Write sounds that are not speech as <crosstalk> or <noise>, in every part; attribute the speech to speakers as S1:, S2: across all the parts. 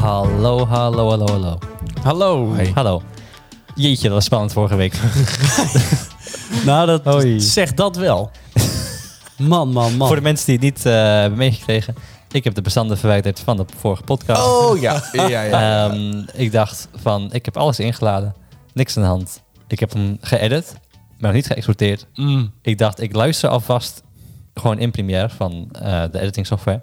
S1: hallo, hallo, hallo, hallo.
S2: Hallo.
S1: Hallo. Jeetje, dat was spannend vorige week.
S2: Nou, dat
S1: Hoi.
S2: zegt dat wel. Man, man, man.
S1: Voor de mensen die het niet eh, hebben meegekregen. Ik heb de bestanden verwijderd van de vorige podcast.
S3: Oh ja. ja, ja, ja.
S1: Ehm, ik dacht van, ik heb alles ingeladen. Niks aan de hand. Ik heb hem geëdit, maar nog niet geëxporteerd.
S2: Mm.
S1: Ik dacht, ik luister alvast gewoon in Premiere van eh, de editing software.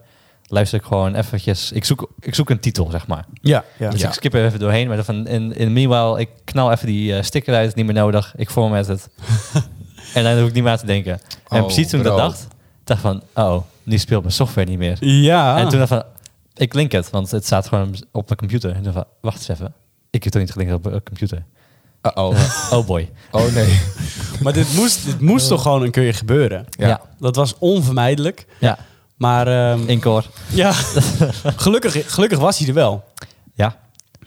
S1: Luister ik gewoon eventjes. Ik zoek, ik zoek een titel, zeg maar.
S2: Ja, ja.
S1: Dus ik skip er even doorheen. Maar van in, in meanwhile, ik knal even die eh, sticker uit. Niet meer nodig. Ik format
S3: <laughs>
S1: het. en dan hoef ik niet meer aan te denken. en
S3: Oh,
S1: precies toen ik dat
S3: bro.
S1: dacht, dacht van... Oh, nu speelt mijn software niet meer.
S2: Ja.
S1: En toen dacht van... Ik link het, want het staat gewoon op mijn computer. En toen van, wacht eens even. Ik heb toch niet gelinkt op mijn computer.
S3: Uh-oh.
S1: Oh boy.
S3: Oh nee.
S2: Maar dit moest, dit moest toch gewoon een keer gebeuren?
S1: Ja.
S3: <laughs> Ja.
S1: Ja.
S2: Dat was onvermijdelijk. Maar ehm,
S1: Incore.
S2: ja, gelukkig, gelukkig was hij er wel.
S1: Ja.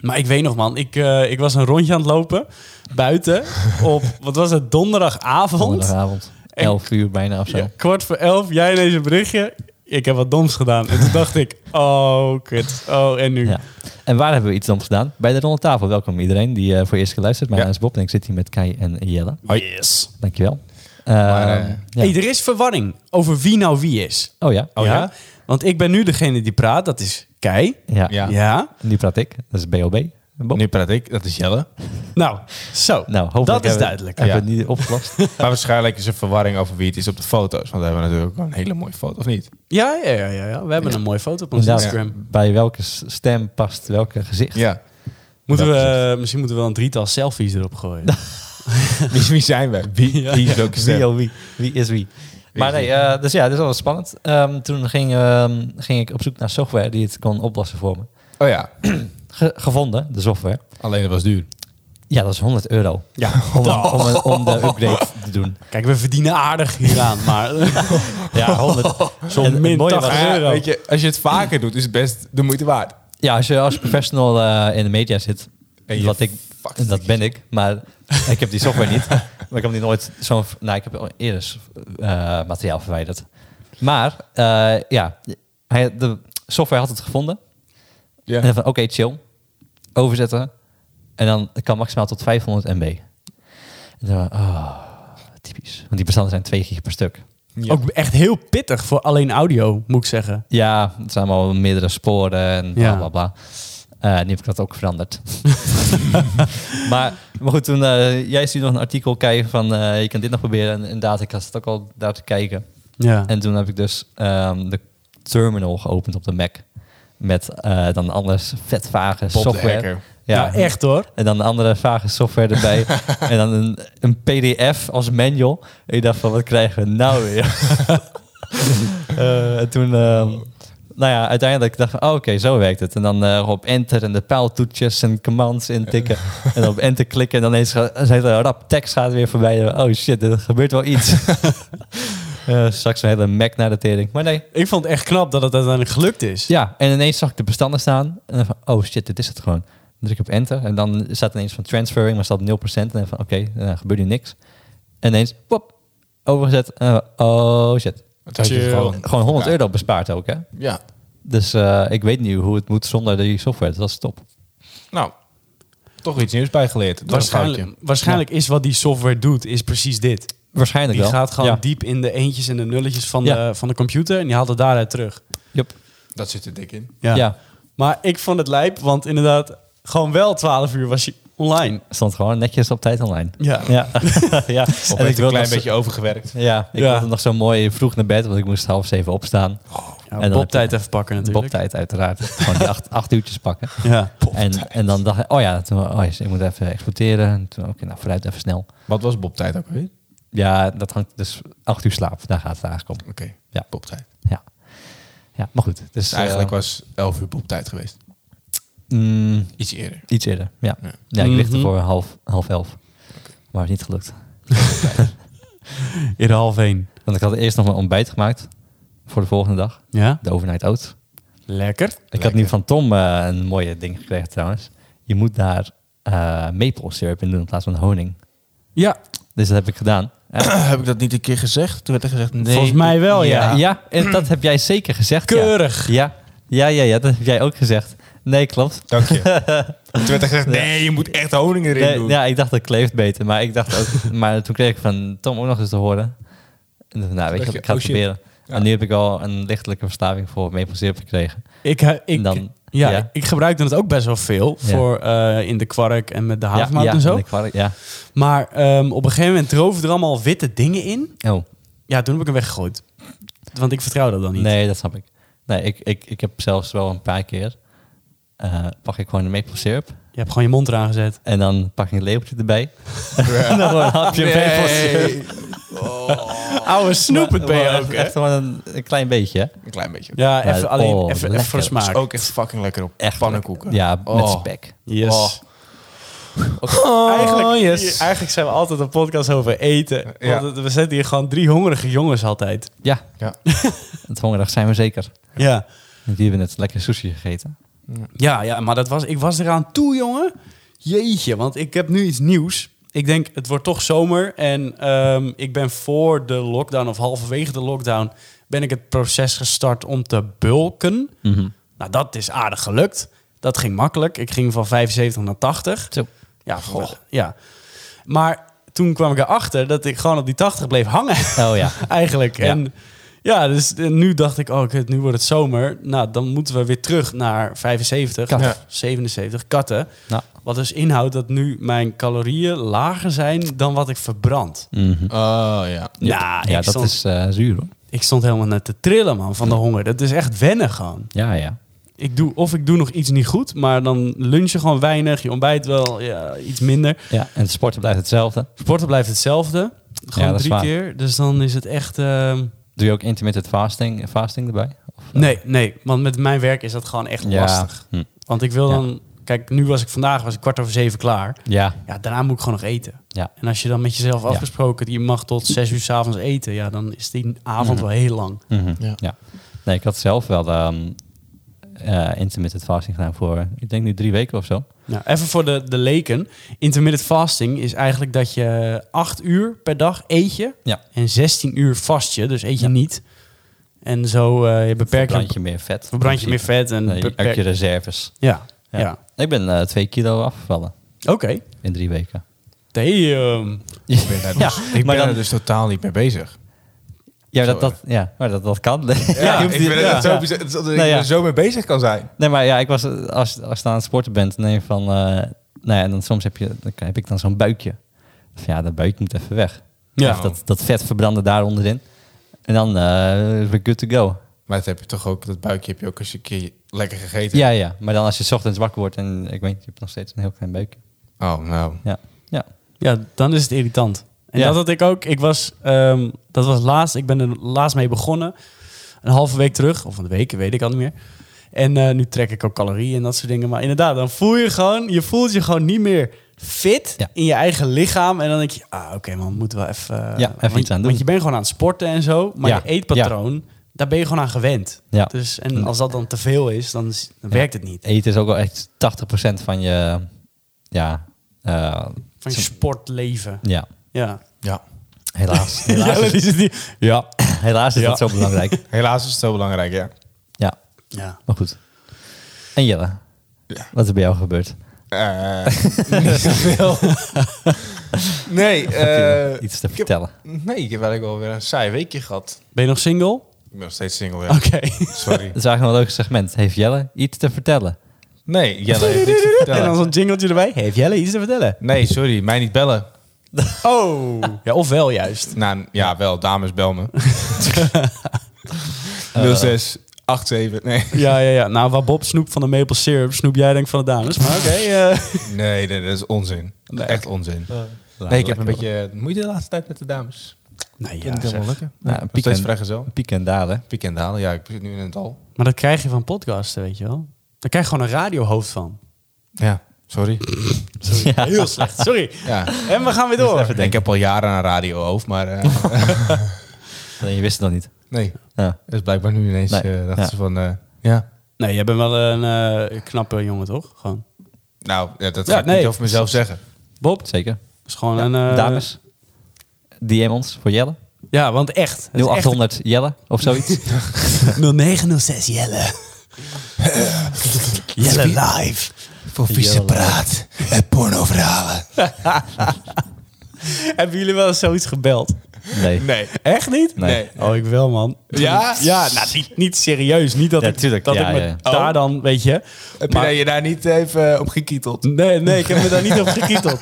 S2: Maar ik weet nog, man. Ik, eh, ik was een rondje aan het lopen buiten op, wat was het, donderdagavond.
S1: Donderdagavond.
S2: En-
S1: 11 uur bijna of zo.
S2: Ja, kwart voor elf, jij ineens een berichtje. Ik heb wat doms gedaan. En toen dacht ik, oh, kut. Oh, en nu?
S1: Ja. En waar hebben we iets om gedaan? Bij de ronde tafel. Welkom iedereen die eh, voor het eerst geluisterd. Mijn
S3: Ja.
S1: naam is Bob en ik zit hier met Kai en Jelle.
S2: Yes.
S1: Dankjewel.
S3: Maar,
S1: Ehm,
S3: eh,
S1: ja.
S2: Hey, er is verwarring over wie nou wie is.
S1: Oh ja.
S3: Oh, ja?
S2: Want ik ben nu degene die praat, dat is Kei.
S1: Ja.
S3: Ja.
S2: Ja.
S1: Nu praat ik. Dat is BOB. Bob.
S3: Nu praat ik, dat is Jelle.
S2: Nou, zo.
S1: Nou, hopelijk
S2: dat is
S1: hebben-
S2: duidelijk.
S1: Hebben
S3: Ja.
S1: we het niet opgelost. Nou,
S3: Maar waarschijnlijk is er verwarring over wie het is op de foto's. Want we hebben natuurlijk ook een hele mooie foto, of niet?
S2: Ja, ja, ja, ja, ja. We hebben een mooie foto op ons
S1: Inderdaad.
S2: Instagram.
S1: Bij welke s- stem past welke gezicht?
S3: Ja. <laughs>
S2: Moeten
S3: Dat is
S2: we, misschien moeten we wel een drietal selfies erop gooien.
S3: Wie, wie zijn we? Wie, wie is welke
S1: <laughs> Wie,
S3: stem?
S1: oh wie? Wie is wie? Maar
S3: is
S1: nee, eh, dus ja, dat is wel spannend. Ehm, toen ging, ehm, ging ik op zoek naar software die het kon oplossen voor me.
S3: Oh ja.
S1: Ge- gevonden, de software.
S3: Alleen dat was duur.
S1: Ja, dat is 100 euro.
S2: ja. <laughs>
S1: Om, om, een- om de upgrade te doen.
S2: Kijk, we verdienen aardig hieraan, maar Oh,
S1: Ja, 100. En het
S2: min
S1: mooie
S2: 80
S1: was-
S3: Maar ja,
S2: euro.
S3: weet je, als je het vaker doet, is het best de moeite waard.
S1: Ja, als je als professional eh, in de media zit,
S3: En je
S1: wat ik,
S3: fuckt
S1: en dat ben ik, maar <laughs> ik heb die software
S3: <laughs>
S1: niet. Maar ik heb die nooit zo'n. Nou, ik heb al eerder eh, materiaal verwijderd. Maar eh, ja, hij, de software had het gevonden.
S3: Ja.
S1: En dan van oké, chill. Overzetten. En dan kan maximaal tot 500 MB. En dan, oh, typisch. Want die bestanden zijn 2 gig per stuk.
S3: Ja.
S2: ook echt heel pittig voor alleen audio, moet ik zeggen.
S1: Ja, het zijn allemaal meerdere sporen en bla
S2: Ja.
S1: bla bla. Eh, nu heb ik dat ook
S2: <laughs>
S1: veranderd. <laughs> maar, maar goed, toen eh, jij stuurde nog een artikel kijken van eh, je kan dit nog proberen. En inderdaad, ik had het ook al daar te kijken.
S2: Ja.
S1: En toen heb ik dus ehm, de terminal geopend op de Mac. Met eh, dan anders vet vage
S3: Bob de
S1: software.
S3: hacker.
S1: Ja,
S2: Nou, echt hoor.
S1: En dan andere vage software erbij. en dan een, een PDF als manual. En ik dacht van, wat krijgen we nou weer? <laughs> Eh, en toen, ehm, nou ja, uiteindelijk dacht ik, oh, oké, zo werkt het. En dan eh, op enter en de pijltoetjes en commands intikken. en op enter klikken en dan ineens gaat, een hele rap tekst gaat weer voorbij. Oh shit, er gebeurt wel iets. <laughs> Eh, straks een hele Mac naar de tering. Maar nee,
S2: Ik vond het echt knap dat het uiteindelijk gelukt is.
S1: ja, en ineens zag ik de bestanden staan. En dan van, oh shit, dit is het gewoon. Dan druk ik op enter. En dan staat ineens van transferring, maar staat 0%. En dan van, oké, nou, gebeurt nu niks. En ineens, pop, overgezet. En dan van, oh shit.
S3: Dat had je
S2: Chill.
S3: gewoon.
S1: Gewoon 100
S3: Ja.
S1: euro bespaard ook, hè?
S3: Ja.
S1: Dus eh, ik weet nu hoe het moet zonder die software. Dus dat is top.
S3: Nou, toch iets nieuws bijgeleerd. Dat was een
S2: Waarschijnlijk,
S3: foutje.
S2: waarschijnlijk is wat die software doet, is precies dit.
S1: Waarschijnlijk
S2: Die
S1: wel.
S2: gaat gewoon
S1: Ja.
S2: diep in de eentjes en de nulletjes van,
S1: Ja.
S2: de, van de computer en die haalt het daaruit terug.
S1: Yup.
S3: Dat zit er dik in.
S1: Ja.
S2: Maar ik vond het lijp, want inderdaad, gewoon wel 12 uur was hij online.
S1: stond gewoon netjes op tijd online.
S2: Ja.
S1: Ja. <laughs> ja.
S3: Of werd een
S1: wilde
S3: klein
S1: nog zo-
S3: beetje overgewerkt.
S1: Ja, ik
S2: Ja.
S1: wilde nog zo mooi vroeg naar bed, want ik moest half zeven opstaan.
S2: Ja,
S1: dan
S2: Bob tijd
S1: heb
S2: even pakken
S1: je-
S2: natuurlijk.
S1: Bobtijd uiteraard. Gewoon die acht, acht uurtjes pakken. <laughs>
S2: Ja.
S1: En, en dan dacht ik, oh ja, toen, oh jezus, ik moet even exporteren. En toen, oké, nou vooruit even snel.
S3: Wat was Bob tijd ook weer?
S1: Ja, dat hangt dus acht uur slaap. Daar gaat het eigenlijk om.
S3: Oké,
S1: Ja.
S3: Bob tijd.
S1: Ja, ja maar goed. Dus
S3: Dus eigenlijk
S1: eh,
S3: was 11 uur Bob tijd geweest.
S1: mm,
S3: Iets eerder.
S1: iets eerder. Ja, ja.
S3: Ja.
S1: ik lichtte
S2: Mhm.
S1: voor half, half elf. Maar het is niet gelukt.
S2: In de half één.
S1: Want ik had eerst nog mijn ontbijt gemaakt voor de volgende dag.
S2: Ja.
S1: De overnight oats.
S2: Lekker.
S1: Ik had nu van Tom eh, een mooie ding gekregen trouwens. Je moet daar eh maple syrup in doen in plaats van honing.
S2: Ja,
S1: Dus dat heb ik gedaan. En-
S3: <clears throat> Heb ik dat niet een keer gezegd? Toen werd er gezegd nee.
S2: volgens mij wel ja.
S1: ja, en dat heb jij zeker gezegd. ja.
S2: Keurig.
S1: Ja, ja, ja, ja dat heb jij ook gezegd. Nee, klopt. <laughs>
S3: Dank je. Toen werd er gezegd, nee, je moet echt honing erin
S1: Nee,
S3: doen.
S1: ja, ik dacht dat kleeft beter. Maar, ik dacht
S3: <laughs>
S1: ook, maar toen kreeg ik van Tom ook nog eens te horen. En dacht, nou, weet je
S3: dacht
S1: wat,
S3: je,
S1: ik ga het
S3: oh shit.
S1: proberen.
S3: Ja.
S1: En nu heb ik al een lichtelijke verstaving voor maple syrup gekregen.
S2: Ik, eh,
S1: En
S2: ik,
S1: dan-
S2: ja,
S1: ja.
S2: ik gebruikte het ook best wel veel
S1: Ja.
S2: voor eh, in de kwark en met de
S1: ja,
S2: havermout
S1: ja,
S2: en zo.
S1: de kwark, ja.
S2: Maar ehm, op een gegeven moment droven er allemaal witte dingen in.
S1: Oh,
S2: Ja, toen heb ik hem weggegooid. Want ik vertrouw dat dan niet.
S1: nee, dat snap ik. Nee, ik, ik, ik heb zelfs wel een paar keer... eh, pak ik gewoon de maple syrup.
S2: Je hebt gewoon je mond eraan gezet.
S1: En dan pak ik een lepeltje erbij. <laughs> en dan gewoon een hapje maple syrup.
S3: nee.
S2: Oude snoepend ben je
S1: Gewoon
S2: ook,
S1: echt-
S2: hè?
S1: Echt gewoon een, <laughs> een klein beetje, hè?
S3: Een klein beetje.
S2: Ja, even
S1: Ja,
S2: alleen
S1: oh,
S2: even, even voor de
S1: lekker.
S3: Is
S2: smaak.
S3: ook echt fucking lekker op
S1: Echt
S3: pannenkoeken.
S1: Ja, met
S3: Oh.
S1: spek.
S2: Yes.
S3: Oh.
S2: Eigenlijk,
S3: yes.
S2: eigenlijk zijn we altijd een podcast over eten.
S3: Ja.
S2: Want we zetten hier gewoon drie hongerige jongens altijd.
S1: Ja,
S3: Ja.
S1: het hongerig zijn we zeker.
S2: Ja,
S1: Die hebben net lekker sushi gegeten.
S2: ja, ja maar dat was, ik was eraan toe, jongen. Jeetje, want ik heb nu iets nieuws. Ik denk, het wordt toch zomer. En ehm, ik ben voor de lockdown of halverwege de lockdown... ben ik het proces gestart om te bulken.
S1: Mhm.
S2: Nou, dat is aardig gelukt. Dat ging makkelijk. Ik ging van 75 naar 80.
S1: Zo.
S2: Ja, goh. Ja. Maar toen kwam ik erachter dat ik gewoon op die 80 bleef hangen.
S1: Oh ja.
S2: <laughs> eigenlijk.
S1: Ja.
S2: En ja, dus en nu dacht ik, oh, kut, nu wordt het zomer. Nou, dan moeten we weer terug naar 75,
S1: Katten.
S2: of 77 katten.
S1: Nou.
S2: Wat dus inhoudt dat nu mijn calorieën lager zijn dan wat ik verbrand.
S3: Oh ja.
S2: Ja,
S1: Mhm. ja
S2: ik,
S1: dat
S2: stond,
S1: is eh, zuur hoor.
S2: ik stond helemaal net te trillen, man, van de honger. Dat is echt wennen gewoon.
S1: Ja, ja.
S2: Ik doe, of ik doe nog iets niet goed, maar dan lunch je gewoon weinig. Je ontbijt wel ja, iets minder.
S1: ja. En het sporten blijft hetzelfde.
S2: Sporten blijft hetzelfde. Gewoon
S1: dat is
S2: drie
S1: waar.
S2: keer. Dus dan is het echt... ehm,
S1: Doe je ook intermittent fasting, fasting erbij? Of, eh,
S2: Nee, nee, want met mijn werk is dat gewoon echt
S1: ja.
S2: lastig.
S1: Hm.
S2: Want ik wil
S1: Ja.
S2: dan... Kijk, nu was ik vandaag was ik kwart over zeven klaar.
S1: Ja,
S2: Ja, daarna moet ik gewoon nog eten.
S1: Ja.
S2: En als je dan met jezelf afgesproken... je mag tot zes uur s'avonds eten... ja, dan is die avond wel heel lang.
S1: Mhm.
S3: Ja.
S1: ja. Nee, ik had zelf wel ehm, eh, intermittent fasting gedaan voor, eh, ik denk nu drie weken of zo.
S2: Nou, even voor de, de leken. Intermittent fasting is eigenlijk dat je acht uur per dag eet je...
S1: Ja.
S2: en 16 uur vast je, dus eet je
S1: Ja.
S2: niet. En zo eh, je beperk je...
S1: Verbrand je meer vet.
S2: Verbrand je meer vet en...
S1: Nee,
S2: beperk-
S1: uit je reserves.
S2: Ja, ja.
S1: Ja. Ik ben eh, twee kilo afgevallen
S2: Oké.
S1: in drie weken.
S2: Damn.
S3: Ik ben daar dus, ik ben
S1: maar dan-
S3: daar dus totaal niet mee bezig.
S1: Ja,
S3: Zo
S1: dat, dat, ja maar dat, dat kan. <laughs> Ja,
S3: ik ben er
S1: ja.
S3: echt zo, bizar- dat ik
S1: Nou ja.
S3: er zo mee bezig kan zijn.
S1: Nee, maar ja, ik was, eh, als, als je aan het sporten bent, neem van, eh, nou ja, en dan soms heb, je, dan heb ik dan zo'n buikje. Of ja, dat buikje moet even weg.
S2: Ja.
S1: Of dat, dat vet verbranden daar onderin. En dan eh we're good to go.
S3: Maar dat heb je toch ook, dat buikje heb je ook als je een keer lekker gegeten.
S1: Ja, ja. Maar dan als je 's ochtends wakker wordt en ik weet, je hebt nog steeds een heel klein buikje.
S3: Oh, nou.
S1: Ja, ja.
S2: Ja, dan is het irritant. En
S1: Ja.
S2: dat had ik ook. Ik was, ehm, dat was laatst. Ik ben er laatst mee begonnen. Een halve week terug, of een week, weet ik al niet meer. En eh, nu trek ik ook calorieën en dat soort dingen. Maar inderdaad, dan voel je gewoon, je voelt je gewoon niet meer fit
S1: Ja.
S2: in je eigen lichaam. En dan denk je, ah, oké man, we moeten wel even... eh,
S1: even
S2: want-
S1: iets aan doen.
S2: Want je bent gewoon aan het sporten en zo. Maar
S1: Ja.
S2: je eetpatroon, daar ben je gewoon aan gewend.
S1: Ja. Mm.
S2: Dus, en als dat dan te veel is, dan, is- dan
S1: Ja.
S2: werkt het niet.
S1: Eten is ook wel echt 80% van je, ja, eh,
S2: Van je sportleven.
S1: ja.
S2: Ja.
S3: Ja.
S1: Helaas. Helaas,
S2: <laughs> Ja,
S1: is,
S2: dat is het niet.
S1: ja. helaas is
S2: Ja.
S1: dat zo belangrijk.
S3: Helaas is het zo belangrijk, ja.
S1: Ja,
S2: Ja.
S1: maar goed. En Jelle,
S3: Ja.
S1: wat is er bij jou gebeurd? <laughs>
S3: Eh, niet zoveel. nee, eh,
S1: Iets te
S3: ik heb-
S1: vertellen.
S3: nee, ik heb eigenlijk wel weer een saai weekje gehad.
S2: Ben je nog single?
S3: Ik ben nog steeds single, ja.
S2: Oké.
S3: Sorry.
S1: Dat is eigenlijk wel een leuk segment. Heeft Jelle iets te vertellen?
S3: Nee, Jelle heeft niks <laughs> te
S2: <laughs> En dan
S3: vertellen.
S2: zo'n jingletje erbij. Heeft Jelle iets te vertellen?
S3: Nee, sorry, mij niet bellen.
S2: Oh. Ja, of wel juist.
S3: Nou, ja, wel, dames, bel <laughs> me. 06 87, nee.
S2: Ja, ja, ja. Nou, waar Bob snoep van de maple syrup, snoep jij denk ik van de dames. Maar oké. eh.
S3: Nee, nee, Eh. dat is onzin.
S2: Nee.
S3: Echt onzin.
S1: Nou,
S3: Nee, ik heb een
S1: lekker
S3: beetje moeite de laatste tijd met de dames.
S2: nou
S3: Ja,
S2: ja,
S3: niet helemaal
S2: zeg.
S3: lukken.
S1: hoor. <laughs> Nou,
S3: Nog
S1: een piek,
S3: steeds
S1: en,
S3: vrijgezel.
S1: piek en dalen.
S3: Piek en dalen, ja, ik zit nu in het dal.
S2: Maar dat krijg je van podcasten, weet je wel. Daar krijg je gewoon een radiohoofd van.
S3: Ja, sorry.
S2: Sorry. Heel slecht. Sorry.
S3: <laughs> Ja.
S2: En we gaan weer door.
S3: Ik heb al jaren een radiohoofd, maar <laughs> eh,
S1: Alleen je wist het nog niet.
S3: nee.
S1: Ja.
S3: Dus blijkbaar nu ineens
S1: Nee,
S3: eh, dachten
S1: ja.
S3: ze van, eh, ja.
S2: Nee, jij bent wel een eh, knappe jongen, toch? Gewoon.
S3: Nou, ja, dat
S2: Ja,
S3: ga ik
S2: nee.
S3: niet over mezelf zeggen.
S2: Bob
S1: Zeker.
S2: is gewoon een... eh,
S1: Dames, DM ons voor Jelle.
S2: Ja, want echt. Het is
S1: 0800 Jelle of zoiets.
S2: <laughs> echt 0906 Jelle. Jelle live.
S3: Voor
S1: vieze
S3: praat en pornoverhalen.
S2: Hebben jullie wel eens zoiets gebeld?
S1: Nee.
S3: Nee.
S2: Echt niet?
S1: Nee.
S2: Oh, ik wel, man.
S3: Ja?
S2: Ja, nou, niet, niet serieus. Niet dat
S1: Ja,
S2: ik,
S1: tuurlijk.
S2: dat
S1: Ja,
S2: ik me
S1: ja.
S2: daar dan, weet je...
S3: Heb
S2: Maar-
S3: je daar- je daar niet even eh, op gekieteld?
S2: Nee, nee, ik heb me daar niet op gekieteld.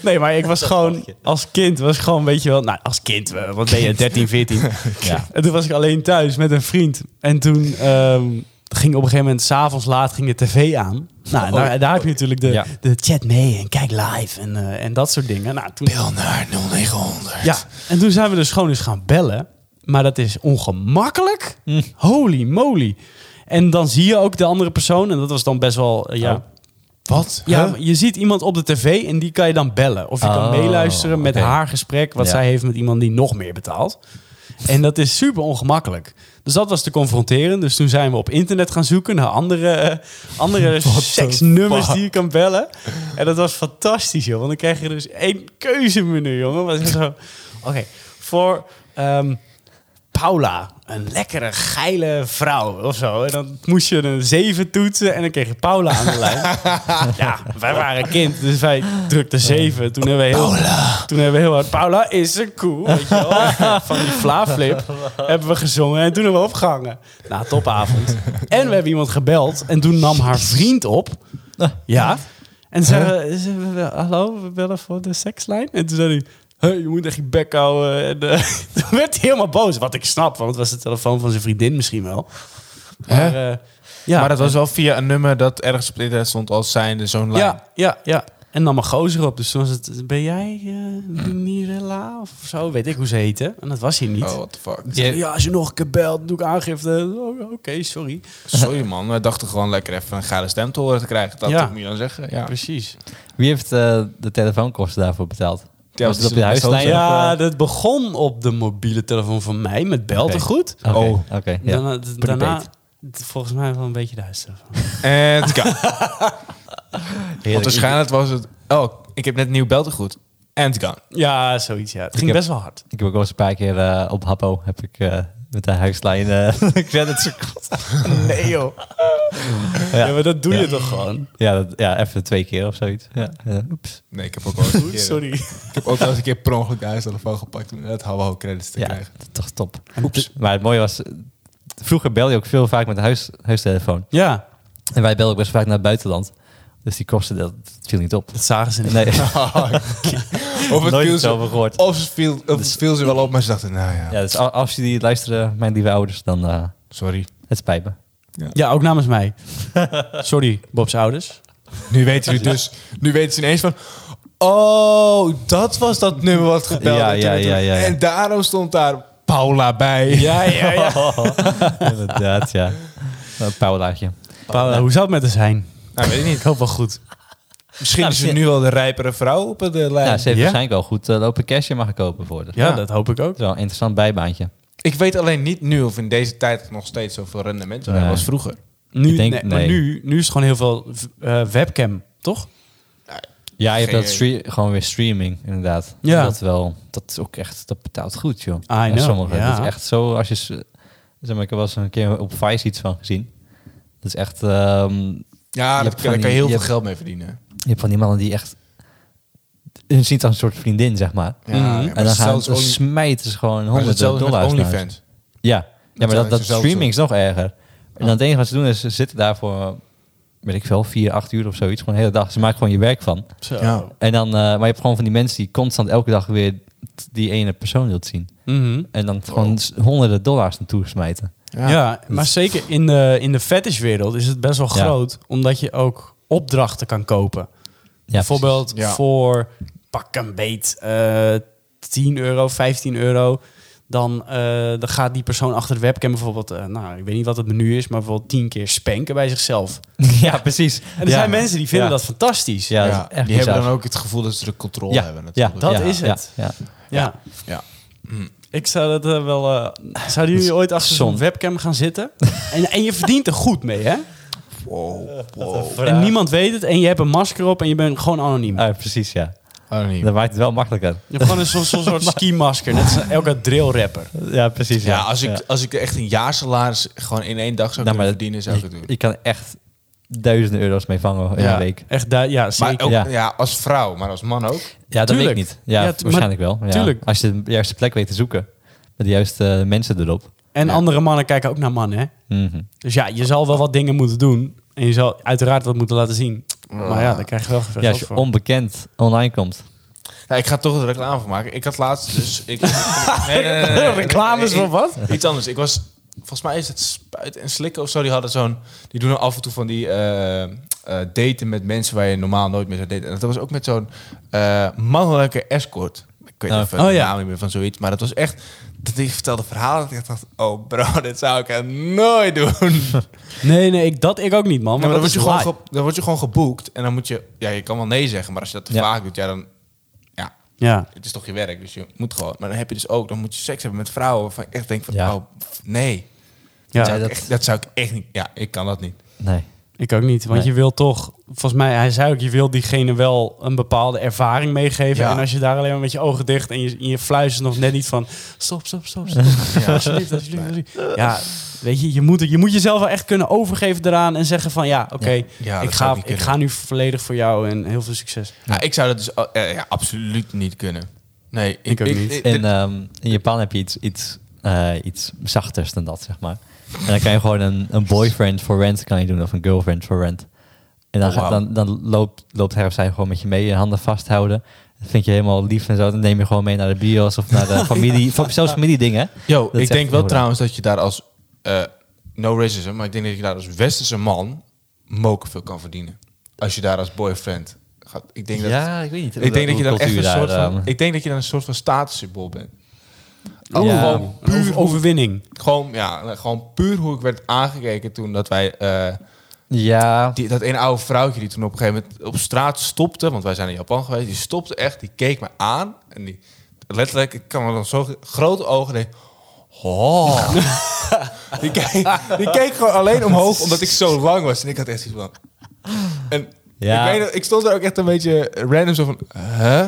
S2: Nee, maar ik was gewoon, als kind was ik gewoon, weet je wel, nou, als kind, eh,
S1: <laughs>
S2: wat ben je, 13, 14.
S1: Ja.
S2: En toen was ik alleen thuis met een vriend. En toen ehm, ging op een gegeven moment, s'avonds laat, ging de tv aan. Nou, en daar, daar heb je natuurlijk de,
S1: Ja.
S2: de chat mee en kijk live en, eh, en dat soort dingen. Nou, toen,
S3: Bel naar 0900.
S2: ja, en toen zijn we dus gewoon eens gaan bellen. Maar dat is ongemakkelijk.
S1: Hm.
S2: Holy moly. En dan zie je ook de andere persoon. En dat was dan best wel, eh, ja,
S1: Oh.
S3: Wat?
S2: ja,
S3: Huh?
S2: maar je ziet iemand op de tv en die kan je dan bellen. Of je kan
S1: Oh,
S2: meeluisteren met
S1: oké.
S2: haar gesprek, wat
S1: Ja.
S2: zij heeft met iemand die nog meer betaalt. En dat is super ongemakkelijk. Dus dat was te confronteren. Dus toen zijn we op internet gaan zoeken naar andere, eh,
S1: <laughs>
S2: andere seksnummers die je kan bellen. En dat was fantastisch, joh. Want dan krijg je dus één keuzemenu, jongen. Maar het is zo,
S1: <laughs>
S2: Oké, voor ehm, Paula, een lekkere, geile vrouw of zo. En dan moest je een 7 toetsen en dan kreeg je Paula aan de lijn.
S1: <laughs>
S2: ja, wij waren kind, dus wij drukten 7. Toen hebben we heel, Toen hebben we heel hard... Paula is een koe, weet je
S3: <laughs>
S2: wel. Van die flaaflip hebben we gezongen en toen hebben we opgehangen. Nou, topavond. En we hebben iemand gebeld en toen nam haar vriend op. Ja. En zei, eh, ze- we- hallo, we bellen voor de sekslijn. En toen zei hij, hey, je moet echt je bek houden. En, eh, <laughs> toen werd hij helemaal boos, wat ik snap. Want het was de telefoon van zijn vriendin misschien wel. Maar, eh, ja,
S3: Maar dat was wel via een nummer dat ergens op het internet stond als zijnde zo'n lijn.
S2: ja, ja, ja. En nam een gozer op. Dus toen was het, ben jij eh Mirella of zo? Weet ik hoe ze heette. En dat was hij niet.
S3: Oh, what the fuck.
S2: Ze zei, Ja, als je nog een keer belt, doe ik aangifte. Oh, Oké, sorry.
S3: Sorry man, we dachten gewoon lekker even een geile stem te horen te krijgen. Dat
S2: Ja.
S3: moet je dan zeggen. Ja,
S2: Precies.
S1: Wie heeft eh, de telefoonkosten daarvoor betaald?
S3: Ja,
S1: was het
S3: dat
S1: op
S3: is-
S1: je
S3: dat is ook
S1: huislijn? eh?
S3: zo.
S2: Nou Ja, dat begon op de mobiele telefoon van mij met beltegoed.
S1: Oké,
S3: Oh.
S1: Oké, ja.
S2: Daarna, d- daarna d- volgens mij wel een beetje de huistelefoon. <laughs>
S3: En het kan. Want
S1: Heerlijk.
S3: waarschijnlijk was het... Oh, ik heb net nieuw beltegoed. En het kan.
S2: Ja, zoiets ja. Het ging
S1: heb-
S2: best wel hard.
S1: Ik heb ook wel eens een paar keer eh, op Happo heb ik eh, met de huislijn eh, <laughs> credits gekocht.
S2: <laughs> Nee joh. Ja,
S1: Ja.
S2: maar dat doe je
S1: Ja.
S2: toch gewoon?
S1: Ja, dat, ja, even twee keer of zoiets. Ja, ja. Oeps.
S3: Nee, ik heb ook wel eens een keer,
S2: Sorry.
S3: Ik heb ook wel eens een keer per ongeluk de huistelefoon gepakt om net hallo credits te
S1: Ja,
S3: krijgen.
S1: dat is toch top.
S2: Oeps.
S1: Maar het mooie was, eh, vroeger bel je ook veel vaak met de huis, huistelefoon.
S2: Ja,
S1: En wij belden ook best vaak naar het buitenland. Dus die kosten, dat viel niet op.
S2: dat
S1: <laughs>
S2: zagen ze niet.
S1: Nee,
S3: of het viel
S1: nooit
S3: ze,
S1: zo gehoord.
S3: of ze viel, of het viel ze wel op, maar ze dachten, nou ja,
S1: Ja, dus al- als jullie luisteren, mijn lieve ouders, dan eh,
S3: sorry.
S1: het spijt me.
S2: Ja, ook namens
S3: <laughs>
S2: mij. Sorry, Bob's ouders.
S3: Nu weten ze dus, nu weten ze ineens van, oh, dat was dat nummer wat gebeld
S1: Ja,
S3: werd.
S1: ja, ja, ja, ja.
S3: En daarom stond daar Paula bij.
S2: Ja, ja, ja.
S1: <laughs> Inderdaad, ja. Een Paulaatje.
S2: <laughs> Paula, hoe zou het met haar zijn?
S3: Nou, weet ik niet.
S2: Ik hoop wel goed.
S3: <laughs> Misschien
S1: Nou,
S3: is
S1: shit.
S3: het nu wel de rijpere vrouw op de lijn.
S1: Ja, ze heeft
S2: Ja?
S1: waarschijnlijk al goed eh, lopen cashje mag kopen voor. Dus.
S2: Ja,
S3: Ja.
S2: dat hoop ik ook.
S1: Dat is wel een interessant bijbaantje.
S3: Ik weet alleen niet nu of in deze tijd nog steeds zoveel rendement zou hebben
S1: Nee.
S3: als vroeger.
S2: Eh, Nu,
S1: Ik denk-
S2: nee, maar
S1: nee.
S2: nu, nu is het gewoon heel veel eh, webcam, toch?
S1: Ja, je hebt
S3: Geen
S1: dat stre- gewoon weer streaming, inderdaad.
S2: Ja.
S1: Dat wel, dat is ook echt, dat betaalt goed, joh.
S2: I know,
S1: sommige,
S2: ja.
S1: dat is echt zo, als je, s- zeg maar, ik heb wel eens een keer op Vice iets van gezien. Dat is echt, ehm,
S3: Ja,
S1: Je hebt van
S3: daar kan, daar kan je
S1: die-
S3: heel
S1: je
S3: veel
S1: hebt-
S3: geld mee verdienen.
S1: je hebt van die mannen die echt, hun ziet als een soort vriendin, zeg maar.
S3: Ja,
S2: Mhm.
S3: ja,
S2: En
S3: maar
S1: en dan gaan
S3: zelfs
S1: ze,
S3: only-
S1: smijten ze gewoon
S3: maar
S1: honderden
S3: zelfs met
S1: dollars naar huis.
S3: OnlyFans.
S1: Ja, ja maar
S3: zijn
S1: dat, dat
S3: dezelfde
S1: streaming is nog erger. En dan het enige wat ze doen is, ze zitten daar voor, weet ik veel, vier, acht uur of zoiets. Gewoon de hele dag. Ze maken gewoon je werk van.
S2: Zo.
S3: Ja.
S1: En dan, eh, maar je hebt gewoon van die mensen die constant elke dag weer t- die ene persoon wilt zien.
S2: Mhm.
S1: En dan gewoon s- honderden dollars naartoe
S2: <laughs>
S1: smijten.
S2: Ja, maar zeker in de, in de fetishwereld is het best wel
S1: Ja.
S2: groot, omdat je ook opdrachten kan kopen.
S1: Ja,
S2: Bijvoorbeeld
S3: precies. Ja.
S2: voor pak een beet eh 10 euro, 15 euro. Dan, eh, dan gaat die persoon achter de webcam bijvoorbeeld, eh, nou ik weet niet wat het menu is, maar bijvoorbeeld 10 keer spanken bij zichzelf.
S1: precies. ja, precies.
S2: <laughs> En er zijn mensen die vinden dat fantastisch. Ja,
S1: Ja,
S3: Ja,
S1: dat is echt
S3: die hebben
S1: bizar.
S3: dan ook het gevoel dat ze de controle
S1: Ja,
S3: hebben.
S1: ja,
S3: natuurlijk.
S2: dat
S1: ja,
S2: is
S1: ja,
S2: het.
S1: Ja,
S3: Ja.
S2: Ik zou dat eh, wel. eh, zouden jullie ooit achter zo'n
S1: zonde.
S2: webcam gaan zitten? <laughs> en, en je verdient er goed mee, hè?
S3: Wow, wow.
S2: En niemand weet het en je hebt een masker op en je bent gewoon anoniem.
S1: Ah, precies, ja.
S3: Anoniem.
S1: Dat maakt het wel makkelijker.
S2: Je hebt gewoon een soort, soort,
S1: <laughs>
S2: soort ski-masker. Net als elke drillrapper.
S1: Ja, precies. Ja,
S3: Ja, als ik, als ik echt een jaarsalaris gewoon in één dag zou
S1: Nou, maar
S3: kunnen
S1: dat-
S3: verdienen, zou ik het
S1: je,
S3: doen.
S1: je kan echt duizenden euro's mee vangen in een week.
S2: Echt, daar, ja, zeker.
S3: Maar
S1: ja.
S3: ook, ja. als vrouw, maar als man ook.
S1: Ja, dat
S2: Tuurlijk.
S1: weet ik niet. Ja,
S2: Ja, t-
S1: waarschijnlijk wel. Ja.
S2: tuurlijk.
S1: Als je de juiste plek weet te zoeken. Met de juiste eh, mensen erop.
S2: En andere mannen kijken ook naar mannen, hè?
S1: Mhm.
S2: Dus ja, je zal wel wat dingen moeten doen. En je zal uiteraard wat moeten laten zien. Maar
S3: Ah.
S2: ja, dan krijg je wel veel
S1: Ja,
S2: geld
S1: als je
S2: voor.
S1: onbekend online komt.
S3: Ja, ik ga toch een reclame van maken. Ik had laatst
S2: <laughs>
S3: dus... Ik, nee, nee, nee, nee.
S2: Reclames
S3: Nee,
S2: voor wat?
S3: Iets anders. Ik was... Volgens mij is het spuiten en slikken of zo. Die hadden zo'n... Die doen af en toe van die eh, eh, daten met mensen waar je normaal nooit mee zou daten. En dat was ook met zo'n eh, mannelijke escort. Ik weet
S1: Oh.
S3: even
S2: Oh,
S3: de
S2: ja.
S3: naam niet meer van zoiets. Maar dat was echt... Dat die vertelde verhalen. Dat ik dacht, oh bro, <laughs> dit zou ik echt nooit
S2: <laughs>
S3: doen.
S2: Nee, nee, ik, dat ik ook niet, man.
S3: Ja,
S2: Maar dat
S3: maar dan, word je
S2: is
S3: gewoon
S2: laai.
S3: ge- dan word je gewoon geboekt en dan moet je... Ja, je kan wel nee zeggen, maar als je dat te
S1: Ja.
S3: vaak doet, ja, dan... Ja,
S2: Ja.
S3: het is toch je werk, dus je moet gewoon... Maar dan heb je dus ook, dan moet je seks hebben met vrouwen waarvan ik echt denk van...
S1: Ja.
S3: Oh, pff, nee.
S2: Ja,
S3: dat, zou
S1: dat-
S3: ik echt, dat zou ik echt niet... Ja, ik kan dat niet.
S1: Nee.
S2: ik ook niet. Want
S1: Nee.
S2: je wil toch, volgens mij, hij zei ook, je wil diegene wel een bepaalde ervaring meegeven.
S3: Ja.
S2: En als je daar alleen maar met je ogen dicht en je, en je fluistert nog net niet van, stop, stop, stop, stop. <laughs> Ja, alsjeblieft, alsjeblieft, alsjeblieft. ja weet je, je moet, het- je moet jezelf wel echt kunnen overgeven eraan en zeggen van, ja, oké,
S3: Ja, dat
S2: ik, ga,
S3: zou ik niet
S2: ik
S3: kunnen.
S2: ga nu volledig voor jou en heel veel succes.
S3: Ja, ik zou dat dus al- eh, ja, absoluut niet kunnen. Nee, ik,
S2: ook niet.
S3: Eh, dit-
S1: In, ehm, in Japan heb je iets, iets, eh, iets zachters dan dat, zeg maar. En dan kan je gewoon een, een boyfriend for rent kan je doen of een girlfriend for rent. En dan,
S3: Oh, wauw.
S1: dan, dan loopt, loopt hij of zij gewoon met je mee, je handen vasthouden. Dat vind je helemaal lief en zo. Dan neem je gewoon mee naar de bios of naar
S3: <laughs>
S1: de familie, van zelfs familiedingen.
S3: Yo,
S1: is
S3: ik
S1: echt
S3: denk wel
S1: moeilijk.
S3: trouwens dat je daar als... eh, no racism, maar ik denk dat je daar als westerse man... moken veel kan verdienen. Als je daar als boyfriend gaat... Ik denk dat...
S1: ja, ik weet niet.
S3: Ik denk dat je dan echt een soort van,
S1: Ik,
S3: ik denk dat je dan een soort van statussymbool bent.
S1: Oh, Ja.
S2: Gewoon een Ehm, over- overwinning.
S3: Gewoon, ja, gewoon puur hoe ik werd aangekeken toen dat wij eh,
S1: ja,
S3: die, dat een oude vrouwtje die toen op een gegeven moment op straat stopte, want wij zijn in Japan geweest, die stopte echt, die keek me aan en die letterlijk, ik kan me dan zo grote ogen denk,
S1: <laughs>
S3: oh. die, keek, die keek gewoon alleen omhoog omdat ik zo lang was en ik had echt iets van. En
S1: Ja.
S3: ik, weet, nog, ik stond er ook echt een beetje random zo van, huh?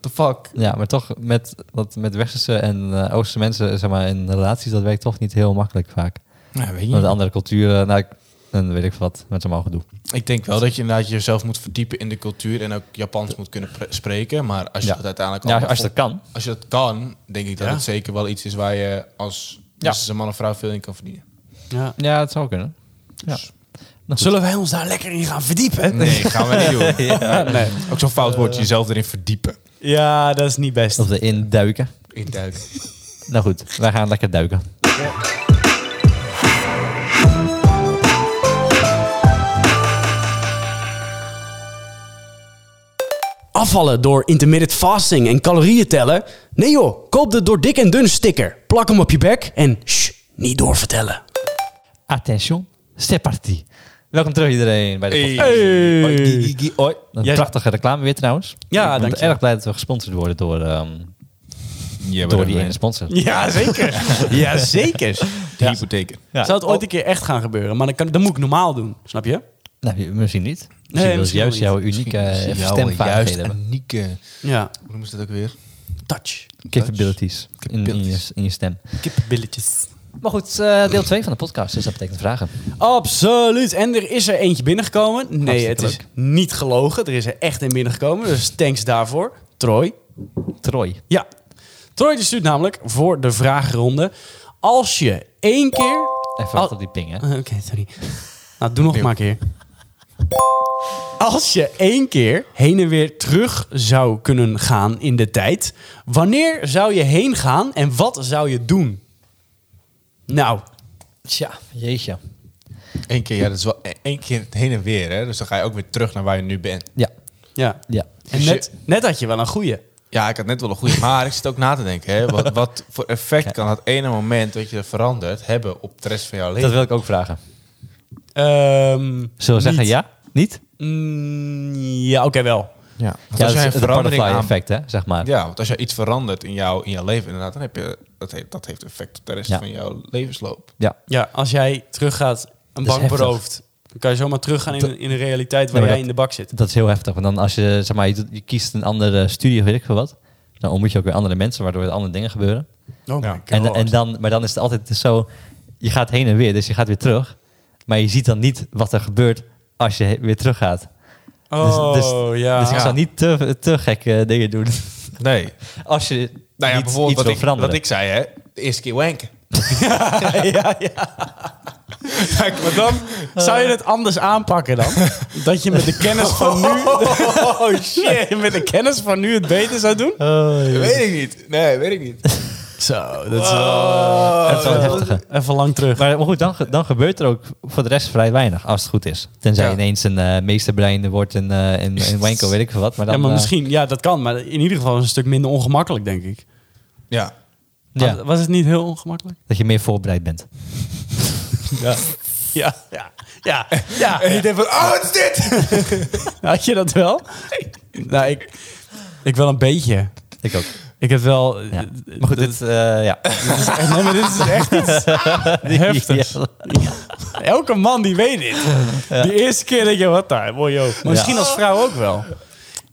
S3: What the fuck?
S1: ja, maar toch met, wat, met westerse en eh, oosterse mensen, zeg maar, in relaties, dat werkt toch niet heel makkelijk vaak.
S3: Nou, weet
S1: Met andere culturen, nou, ik- dan weet ik wat met zo'n mogen doen.
S3: Ik denk wel dat je inderdaad jezelf moet verdiepen in de cultuur en ook Japans moet kunnen pre- spreken. Maar als je
S1: Ja.
S3: dat uiteindelijk
S1: Ja,
S3: allemaal
S1: als je dat
S3: vol-
S1: kan.
S3: als je dat kan, denk ik dat
S2: Ja.
S3: het zeker wel iets is waar je als
S1: Ja.
S3: als een man of vrouw veel in kan verdienen.
S2: Ja.
S1: Ja, het zou kunnen. Dus-
S2: Zullen wij ons daar lekker in gaan verdiepen?
S3: Nee, <laughs> gaan we niet doen.
S2: nee.
S3: Ook zo'n fout woord, jezelf erin verdiepen.
S2: Ja, dat is niet best.
S1: Of de induiken.
S3: In
S1: Nou goed, wij gaan lekker duiken.
S2: Afvallen door intermittent fasting en calorieën tellen? Nee joh, koop de door dik en dun sticker. Plak hem op je bek en shh, niet doorvertellen.
S1: Attention, c'est parti. Welkom terug iedereen bij de podcast.
S2: Hoi.
S1: Een
S2: Jij-
S1: prachtige reclame weer trouwens.
S2: Ja,
S1: ik ben
S2: dankjewel.
S1: erg blij dat we gesponsord worden door, ehm, door die ene sponsor.
S2: Ja, zeker. <laughs> ja, zeker.
S3: De hypotheken.
S1: Ja.
S2: Zou het ooit een keer echt gaan gebeuren? Maar dan, kan, dan moet ik normaal doen, snap je?
S1: Nou, je- misschien niet. Misschien
S2: Nee,
S1: wil ze
S2: misschien
S1: juist
S2: wel
S1: jouw unieke eh,
S3: juist
S1: stemvaardigheden <laughs> hebben.
S3: unieke,
S2: Ja.
S3: hoe noemen ze dat ook weer?
S2: Touch.
S1: Capabilities in, in, je,
S3: Capabilities.
S1: in je stem.
S2: Kippenbilletjes.
S1: Maar goed, eh, deel 2 van de podcast, dus dat betekent vragen.
S2: Absoluut. En er is er eentje binnengekomen. Nee,
S1: Hartstikke
S2: het is
S1: leuk.
S2: niet gelogen. Er is er echt een binnengekomen. Dus thanks daarvoor. Troy,
S1: Troy.
S2: Ja. Troy die stuurt namelijk voor de vragenronde. Als je één keer...
S1: Even wachten
S2: Al-
S3: Oh.
S1: op die ping, hè.
S2: Eh, Oké, sorry. Nou, doe nog maar een keer. Als je één keer heen en weer terug zou kunnen gaan in de tijd... wanneer zou je heen gaan en wat zou je doen? Nou,
S1: Tja, jeetje.
S3: Eén keer, ja, dat is wel e- één keer het heen en weer, hè? Dus dan ga je ook weer terug naar waar je nu bent.
S1: Ja,
S2: ja.
S1: ja.
S2: En net, net had je wel een goeie.
S3: Ja, ik had net wel een goede, maar ik zit ook na te denken, hè? Wat, wat voor effect kan dat ene moment dat je verandert hebben op de rest van jouw leven?
S1: Dat wil ik ook vragen.
S2: Ehm,
S1: Zullen we zeggen
S2: niet-
S1: ja? Niet?
S2: Mm, ja, oké, wel.
S3: Ja, want
S1: Ja, dat
S3: als jij
S1: is
S3: een
S1: het
S3: verandering
S1: butterfly
S3: aan...
S1: effect, hè, zeg maar.
S3: Ja, want als jij iets verandert in, jou, in jouw leven, inderdaad, dan heb je dat heeft, dat heeft effect op de rest
S1: Ja.
S3: van jouw levensloop.
S1: Ja.
S2: Ja, als jij teruggaat, een
S1: is
S2: bank
S1: heftig.
S2: berooft, dan kan je zomaar teruggaan in, in de realiteit waar
S1: Nee, maar
S2: jij
S1: dat-
S2: in de bak zit.
S1: Dat is heel heftig. Want dan als je, zeg maar, je, doet- je kiest een andere studie of weet ik veel wat. Dan ontmoet je ook weer andere mensen, waardoor er andere dingen gebeuren.
S2: Oh
S3: my Ja. God.
S1: En, en dan, maar dan is het altijd zo, je gaat heen en weer, dus je gaat weer terug. Maar je ziet dan niet wat er gebeurt als je he- weer teruggaat.
S2: Oh,
S1: Dus-
S2: ja.
S1: dus ik
S3: Ja.
S1: zou niet te, te gekke dingen doen. <laughs>
S3: Nee.
S1: Als je
S3: Nou ja,
S1: niet,
S3: bijvoorbeeld
S1: iets
S3: wat
S1: wil
S3: ik,
S1: veranderen.
S3: wat ik zei, hè. De eerste keer wanken.
S2: <laughs>
S1: ja, ja.
S3: Kijk, maar <laughs> dan...
S2: Zou je het anders
S1: <laughs>
S2: aanpakken dan? Dat je met de kennis van nu... Oh shit. <laughs> met de kennis van nu het beter zou doen?
S3: Weet ik niet. Nee, weet ik niet.
S2: Zo, dat is Oh,
S1: dat is wel een heftige.
S2: Even lang terug.
S1: Maar, maar goed, dan, ge- dan gebeurt er ook voor de rest vrij weinig, als het goed is. Tenzij
S3: Ja.
S1: ineens een eh, meesterbrein wordt en, eh en,
S2: <laughs>
S1: en wanko, weet ik veel wat. Maar dan,
S2: ja, maar
S1: eh,
S2: misschien, ja, dat kan. Maar in ieder geval is het een stuk minder ongemakkelijk, denk ik.
S3: Ja.
S1: ja,
S2: Was, was het niet heel
S1: <laughs>
S2: ongemakkelijk?
S1: dat je meer voorbereid bent.
S2: Ja. Ja, ja, ja, Ah, ja.
S3: En je denkt van, oh, wat is dit? <laughs>
S2: Had je dat wel? Nou, ik, ik wel een beetje.
S1: Ik ook.
S2: Ik heb wel...
S1: Ja. Maar goed, dit, eh, ja.
S2: <laughs> Nee, maar dit is echt iets heftigs.
S1: Ja.
S2: Elke man die weet dit. Die eerste keer denk je, wat daar, mooi joh. Maar misschien als vrouw ook wel.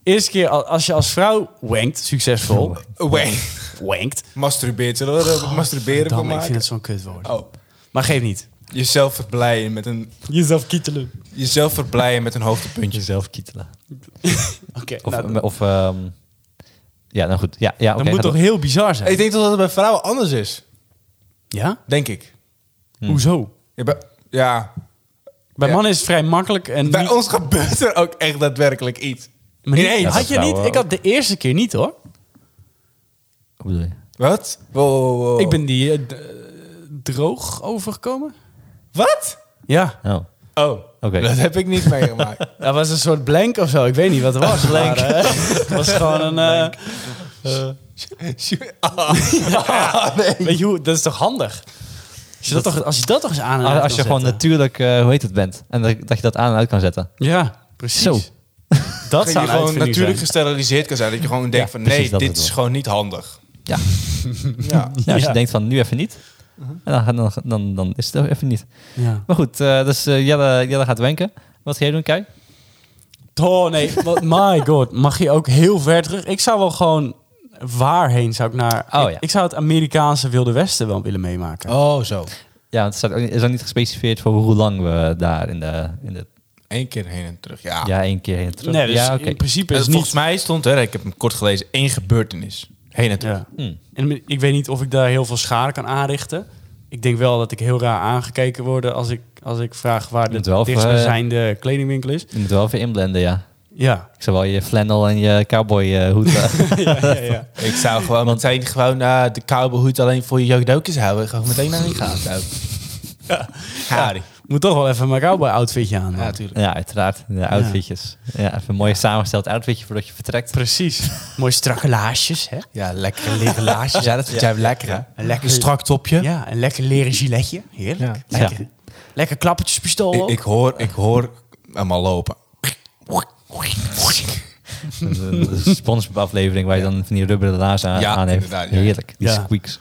S2: Eerste keer al- als je als vrouw wankt, succesvol,
S3: Wank.
S2: wankt.
S3: Masturbeert. Zullen we er masturberen van
S2: Dan, ik vind
S3: maken?
S2: het zo'n kutwoord.
S3: Oh.
S2: Maar geef niet.
S3: Jezelf verblijen met een...
S2: Jezelf kietelen.
S3: Jezelf verblijen met een hoogtepuntje.
S1: Jezelf kietelen.
S2: Oké,
S1: Of,
S2: nou,
S1: of ehm, ja, nou goed. Ja, ja,
S2: dat
S1: oké,
S2: moet
S1: ga
S2: toch
S1: door.
S2: heel bizar zijn?
S3: Ik denk toch dat het bij vrouwen anders is.
S2: Ja?
S3: Denk ik.
S2: Hoezo?
S3: Ja, bij, ja.
S2: Bij
S3: Ja.
S2: mannen is het vrij makkelijk en
S3: bij
S2: niet-
S3: ons gebeurt er ook echt daadwerkelijk iets.
S2: maar niet-
S3: ineens.
S2: Had je niet? Ik had de eerste keer niet hoor.
S1: Wat bedoel je?
S3: Wat? Wow, wow, wow.
S2: Ik ben die eh, d- eh, droog overgekomen.
S3: Wat?
S2: Ja,
S1: Oh, oké.
S3: Oh, dat heb ik niet
S2: <laughs>
S3: meegemaakt.
S2: dat was een soort blank of zo. Ik weet niet wat het was. <laughs> Blank. Het was gewoon een. eh, <laughs>
S3: Ah,
S2: Weet je hoe, dat is toch handig? Als je dat, toch, als je dat toch eens aan en
S1: Als,
S2: uit
S1: als je
S2: kan
S1: gewoon
S2: zetten.
S1: natuurlijk, eh, hoe heet het, bent. En dat, dat je dat aan en uit kan zetten.
S2: Ja, precies.
S1: Zo.
S2: Dat
S3: Dat je
S2: zou een
S3: gewoon
S2: uitvinding
S3: natuurlijk
S2: zijn.
S3: gesteriliseerd kan zijn. Dat je gewoon denkt van
S1: precies,
S3: nee,
S1: dat
S3: dit
S1: bedoel
S3: is
S1: ik.
S3: gewoon niet handig.
S1: Ja.
S3: <laughs> Ja.
S1: Ja, als je
S2: Ja. Uh-huh.
S1: denkt van nu even niet. En dan, dan, dan, dan is het ook even niet.
S2: Ja.
S1: Maar goed, eh, dus eh, Jelle, Jelle gaat wenken. Wat ga jij doen, Kai?
S2: Oh nee, wat- my god. Mag je ook heel ver terug? Ik zou wel gewoon... Waarheen zou ik naar...
S1: Oh,
S2: ik,
S1: ja.
S2: ik zou het Amerikaanse Wilde Westen wel willen meemaken.
S3: Oh, zo.
S1: Ja, want het staat ook niet- is ook niet gespecificeerd voor hoe lang we daar in de, in de
S3: Eén keer heen en terug. Ja.
S1: ja, één keer heen en terug.
S2: Nee, dus
S1: ja, oké.
S2: in principe
S3: En
S2: is het
S3: volgens
S2: niet...
S3: mij stond er, ik heb hem kort gelezen, één gebeurtenis. Heen en terug.
S2: Ja.
S1: Hmm.
S2: En ik weet niet of ik daar heel veel schade kan aanrichten. Ik denk wel dat ik heel raar aangekeken word als ik, als ik vraag waar
S1: moet
S2: de
S1: wel voor, eh,
S2: dichtstbijzijnde kledingwinkel is.
S1: Je moet wel even inblenden, ja.
S2: Ja.
S1: Ik zou wel je flannel en je cowboy eh, hoed. eh, <laughs>
S2: ja, ja, ja.
S3: Ik zou gewoon meteen gewoon eh, de cowboyhoed alleen voor je jokdokers houden. Gewoon meteen naar die gaan. Ja. Harry.
S2: <laughs> Moet toch wel even mijn cowboy outfitje aan.
S3: Ja,
S2: man.
S3: natuurlijk.
S1: ja, uiteraard. De outfitjes. Ja, even een mooi samengesteld outfitje voordat je vertrekt.
S2: <laughs> Precies. Mooi strakke laarsjes, hè?
S3: Ja, lekkere leren
S2: <laughs>
S3: laarsjes. Ja, dat vind jij lekker, hè?
S2: Een lekker-
S3: Een strak topje.
S2: Ja, een lekker leren giletje. Heerlijk.
S3: Ja.
S2: Lekker.
S1: Ja.
S2: Lekker klappertjespistool.
S3: Ik, ik, hoor, ik hoor hem al lopen.
S1: Een een SpongeBob-aflevering waar je dan van die rubberen laars aan,
S3: Ja,
S1: aan heeft.
S3: inderdaad, ja.
S1: Heerlijk, die
S2: Ja.
S1: squeaks.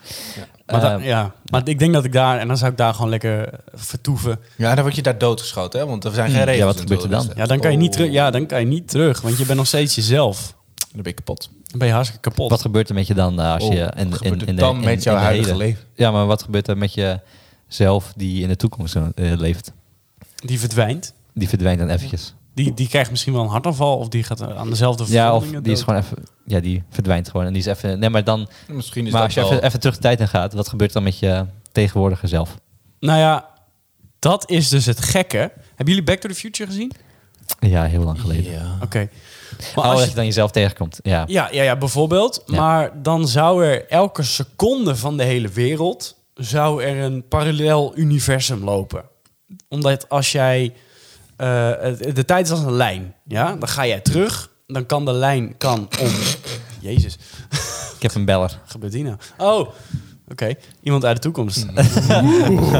S2: maar, da-
S1: Eh,
S2: ja. maar ik denk dat ik daar... En dan zou ik daar gewoon lekker vertoeven.
S3: Ja, dan word je daar doodgeschoten, hè? Want er zijn geen
S1: Ja,
S3: regels. Dus, eh,
S1: wat gebeurt er dan?
S2: Ja, dan kan je
S3: Oh.
S2: niet terug. Ja, dan kan je niet terug. Want je bent nog steeds jezelf.
S3: Dan ben ik kapot.
S2: Dan ben je hartstikke kapot.
S1: Wat gebeurt er met je dan eh, als
S3: Oh,
S1: je...
S3: wat gebeurt er dan met jouw
S1: de
S3: huidige
S1: heden?
S3: leven?
S1: Ja, maar wat gebeurt er met jezelf die in de toekomst eh, leeft?
S2: Die verdwijnt.
S1: Die verdwijnt dan eventjes.
S2: Die, die krijgt misschien wel een hartaanval. Of die gaat eh, aan dezelfde
S1: Ja, of
S2: verwondingen
S1: die is
S2: dood.
S1: gewoon even... Ja, die verdwijnt gewoon. En die is even... Nee, maar dan...
S3: Misschien is
S1: maar als
S3: dat
S1: je
S3: wel...
S1: even, even terug de tijd in gaat, wat gebeurt dan met je tegenwoordige zelf?
S2: Nou ja, dat is dus het gekke. Hebben jullie Back to the Future gezien?
S1: Ja, heel lang geleden.
S3: Ja.
S2: Oké.
S1: Oh,
S2: Maar als
S1: dat
S2: je-
S1: je dan jezelf tegenkomt. Ja.
S2: Ja, ja, ja bijvoorbeeld.
S1: Ja.
S2: Maar dan zou er elke seconde van de hele wereld... zou er een parallel universum lopen. Omdat als jij... eh, het- de tijd is als een lijn. Ja? Dan ga jij terug. Dan kan de lijn kan om...
S1: <laughs>
S2: Jezus,
S1: Ik heb een beller.
S2: gebeurt die nou? Oh, oké. Iemand uit de toekomst. <laughs>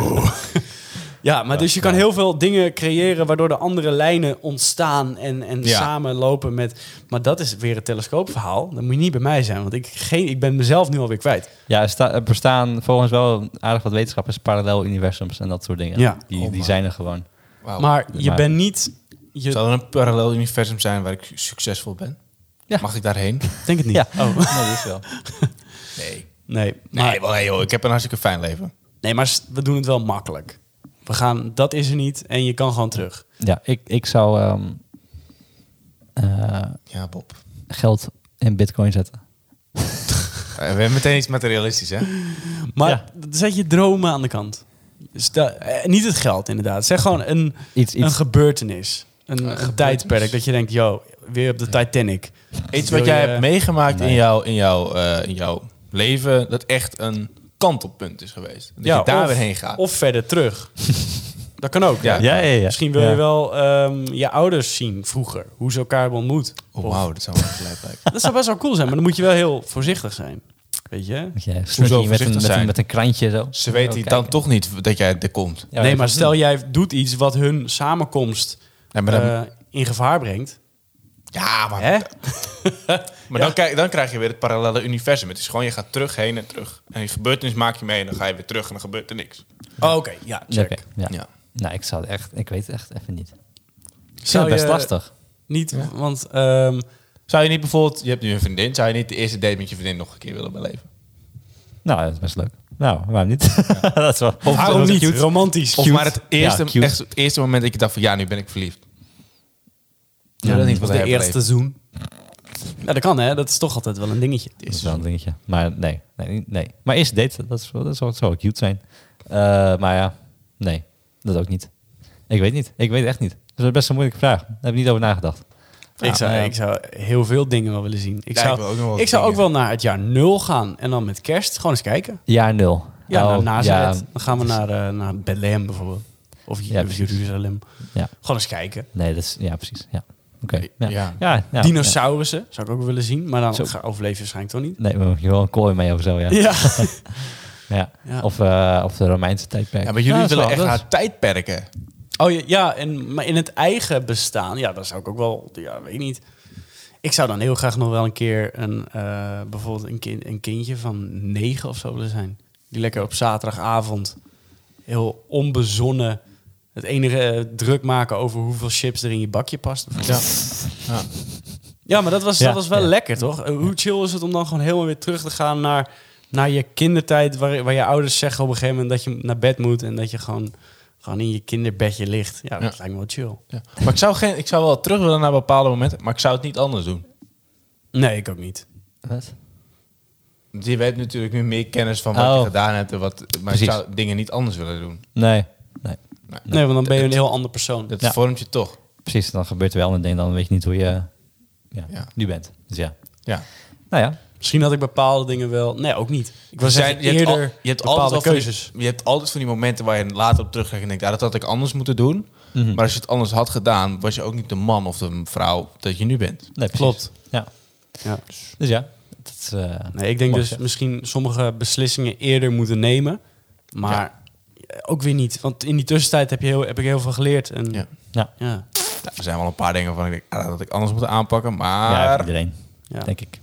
S2: ja, maar dus je kan heel veel dingen creëren... waardoor de andere lijnen ontstaan en, en
S3: Ja.
S2: samen lopen met... Maar dat is weer het telescoopverhaal. Dan moet je niet bij mij zijn, want ik, geen, ik ben mezelf nu alweer kwijt.
S1: Ja, er, sta- er bestaan volgens wel aardig wat wetenschappers parallel universums en dat soort dingen.
S2: Ja.
S1: Die,
S3: Oh,
S1: die
S3: man.
S1: zijn er gewoon.
S3: Oh,
S2: Maar je
S1: maar-
S2: bent niet... Je
S3: Zou er een parallel universum zijn waar ik succesvol ben?
S1: Ja.
S3: Mag ik daarheen?
S2: denk het niet.
S1: Ja, <laughs> nee,
S2: Oh.
S1: dat is wel.
S3: Nee.
S2: Nee, maar,
S3: Nee, wel, hey, joh, ik heb een hartstikke fijn leven.
S2: nee, maar s- we doen het wel makkelijk. we gaan, dat is er niet en je kan gewoon terug.
S1: Ja, ik, ik zou ehm, eh,
S3: Ja, Bob.
S1: geld in bitcoin zetten.
S3: Eh, We hebben meteen iets materialistisch,
S2: <laughs>
S3: hè?
S2: Maar
S1: Ja.
S2: zet je dromen aan de kant. Sta- eh, niet het geld inderdaad. Zeg gewoon een,
S1: Iets,
S2: een
S1: iets
S2: gebeurtenis. Een, een
S3: gebeurtenis.
S2: tijdperk dat je denkt, yo, weer op de Titanic.
S3: Iets
S2: Wil
S3: wat jij
S2: je-
S3: hebt meegemaakt in,
S1: Nee.
S3: jouw, in, jouw, eh, in jouw leven, dat echt een kantelpunt is geweest. Dat
S2: Ja,
S3: je daar
S2: of-
S3: weer heen gaat.
S2: Of verder terug. dat kan ook.
S3: Ja.
S2: Ja.
S1: ja, ja, ja.
S2: Misschien wil
S1: Ja.
S2: je wel ehm, je ouders zien vroeger. Hoe ze elkaar hebben ontmoet.
S3: oh,
S2: Of-
S3: wauw, dat zou wel gelijk lijken.
S2: Dat zou best wel cool zijn, maar dan moet je wel heel voorzichtig zijn. Weet je?
S1: Moet je snuggie met een,
S3: voorzichtig
S1: met,
S3: zijn?
S1: een, met een krantje zo.
S3: Ze weten
S1: Zo
S3: dan
S1: kijken.
S3: toch niet dat jij er komt.
S1: Ja,
S2: nee,
S1: dat
S2: maar
S1: is-
S2: stel jij doet iets wat hun samenkomst
S3: Ja, maar dan,
S2: eh, in gevaar brengt.
S3: ja, maar,
S2: Hè?
S3: maar dan, kijk, dan krijg je weer het parallele universum. Het is gewoon, je gaat terug, heen en terug. En je gebeurtenis maak je mee en dan ga je weer terug en dan gebeurt er niks.
S2: Oh, Oké, ja,
S1: Ja,
S2: check.
S1: oké, ja.
S3: Ja.
S1: Nou, ik zou het echt, ik weet het echt even niet. Ik vind
S2: Zou
S1: het best
S2: je
S1: lastig.
S2: Niet, want ehm,
S3: Zou je niet bijvoorbeeld, je hebt nu een vriendin, zou je niet de eerste date met je vriendin nog een keer willen beleven?
S1: Nou, dat is best leuk. Nou, waarom niet? <laughs> dat is wel. Of,
S2: waarom niet? Romantisch.
S3: Of
S2: Cute.
S3: maar het eerste,
S1: Ja, cute.
S3: echt het eerste moment dat je dacht van ja, nu ben ik verliefd.
S1: Ja,
S3: dat is niet
S2: Of
S3: wat
S2: de
S3: hij
S2: eerste
S3: eerste.
S2: zoen. Ja, dat kan hè, dat is toch altijd wel een dingetje.
S1: Dat is wel een dingetje. Maar nee, nee, nee. Maar eerst date, dat, is, wel- dat zou, zou cute zijn. Eh, maar ja, nee, dat ook niet. Ik weet niet. Ik weet echt niet. Dat is best een moeilijke vraag. Daar heb ik niet over nagedacht.
S2: ik, zou,
S1: maar ja.
S2: ik zou heel veel dingen wel willen zien. Ik
S3: Ja, ik
S2: zou,
S3: wil
S2: ik
S3: ook nog wel
S2: zou ook
S3: dingen.
S2: wel naar het jaar nul gaan en dan met kerst gewoon eens kijken.
S1: Jaar nul.
S2: Ja, nou,
S1: Oh,
S2: naar Nazareth.
S1: ja,
S2: Dan gaan we naar, eh naar Bethlehem bijvoorbeeld. Of J-
S1: Ja, precies.
S2: Jeruzalem.
S1: Ja.
S2: Gewoon eens kijken.
S1: nee, dat is, ja, precies. Ja. Oké. Ja.
S3: Ja.
S1: Ja, ja, ja.
S2: Dinosaurussen zou ik ook willen zien, maar dan
S1: Zo.
S2: ga overleef je waarschijnlijk toch niet.
S1: Nee, maar moet je wel een kooi mee of zo, ja.
S2: <laughs> Ja.
S1: ja.
S2: Ja.
S1: Of, eh, of de Romeinse tijdperk.
S3: Ja, maar jullie
S1: Ja, dat is
S3: willen
S1: wel-
S3: echt
S1: dat is-
S3: haar tijdperken.
S2: Oh ja, ja en, maar in het eigen bestaan, ja, dat zou ik ook wel, ja, weet ik niet. Ik zou dan heel graag nog wel een keer een, eh, bijvoorbeeld een, kind, een kindje van negen of zo willen zijn. Die lekker op zaterdagavond heel onbezonnen het enige eh, druk maken over hoeveel chips er in je bakje past.
S3: Ja.
S2: <laughs>
S3: Ja.
S2: Ja, maar dat was,
S1: Ja,
S2: dat was wel
S1: ja.
S2: lekker, toch? Eh, Hoe chill is het om dan gewoon helemaal weer terug te gaan naar, naar je kindertijd... Waar, waar je ouders zeggen op een gegeven moment dat je naar bed moet... en dat je gewoon, gewoon in je kinderbedje ligt. Ja, dat
S3: Ja.
S2: lijkt me wel chill.
S3: Ja. Maar ik zou, geen, ik zou wel terug willen naar bepaalde momenten, maar ik zou het niet anders doen.
S2: Nee, ik ook niet.
S1: Wat?
S3: Want je weet natuurlijk nu meer kennis van wat je
S1: Oh.
S3: gedaan hebt en wat. Maar
S1: Precies.
S3: ik zou dingen niet anders willen doen.
S1: Nee, nee.
S2: Nee, want dan ben je een heel ander persoon.
S3: Dat
S1: Ja.
S3: vormt je toch.
S1: Precies, dan gebeurt er wel een ding. Dan weet je niet hoe je ja,
S3: Ja.
S1: nu bent. Dus ja.
S3: Ja.
S1: Nou ja,
S2: Misschien had ik bepaalde dingen wel... Nee, ook niet. Ik was
S3: Zijn-
S2: zeggen,
S3: al-
S2: eerder
S3: Dus je hebt altijd
S2: bepaalde
S3: wel van die-
S2: keuzes.
S3: je hebt altijd van die momenten waar je later op terugkijkt en denkt, ja, dat had ik anders moeten doen.
S1: Mhm.
S3: Maar als je het anders had gedaan, was je ook niet de man of de vrouw dat je nu bent.
S1: nee, precies.
S2: Klopt.
S1: Ja.
S2: Ja.
S1: Dus ja, dat is, eh,
S2: Nee, ik denk
S1: Mag,
S2: dus
S1: ja.
S2: misschien sommige beslissingen eerder moeten nemen. Maar ook weer niet. Want in die tussentijd heb, je heel, heb ik heel veel geleerd. En
S3: Ja.
S1: Ja.
S2: ja.
S3: Nou, er zijn wel een paar dingen van ik denk, ah, dat had ik anders moeten aanpakken.
S1: ja,
S3: Maar
S1: iedereen,
S2: Ja.
S1: denk ik.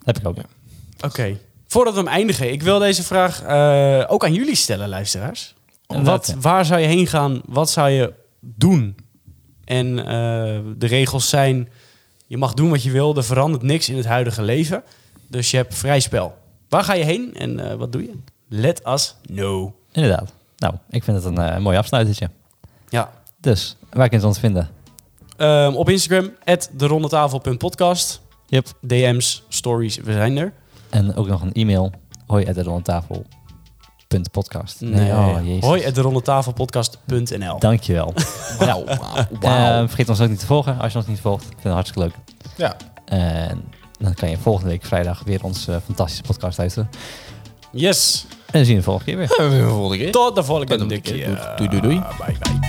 S1: Heb ik ook.
S3: Ja.
S2: Oké. Voordat we hem eindigen, ik wil deze vraag eh, ook aan jullie stellen, luisteraars.
S1: Inderdaad,
S2: Wat,
S1: ja.
S2: waar zou je heen gaan? Wat zou je doen? En eh, de regels zijn: je mag doen wat je wil, er verandert niks in het huidige leven. Dus je hebt vrij spel. Waar ga je heen en eh, wat doe je? Let us know.
S1: Inderdaad. Nou, ik vind het een eh, mooi afsluitertje.
S2: Ja.
S1: Dus, waar kun je ons vinden?
S2: Ehm, op Instagram, derondetafel.podcast.
S1: Yep.
S2: DM's, stories, we zijn er.
S1: En ook nog een e-mail. Hoi at tafel.podcast. oh, jezus.
S2: Hoi, derondetafelpodcast.nl.
S1: Dankjewel. nou,
S3: Wauw. <laughs>
S1: eh, vergeet ons ook niet te volgen als je ons niet volgt. Ik vind het hartstikke leuk.
S3: ja,
S1: En dan kan je volgende week vrijdag weer onze eh, fantastische podcast luisteren.
S2: Yes.
S1: En dan zien we de volgende keer weer.
S3: we volgende keer.
S2: Tot de volgende
S3: Tot de volgende
S2: keer.
S3: keer. Doei, doei, doei.
S2: Bye, bye.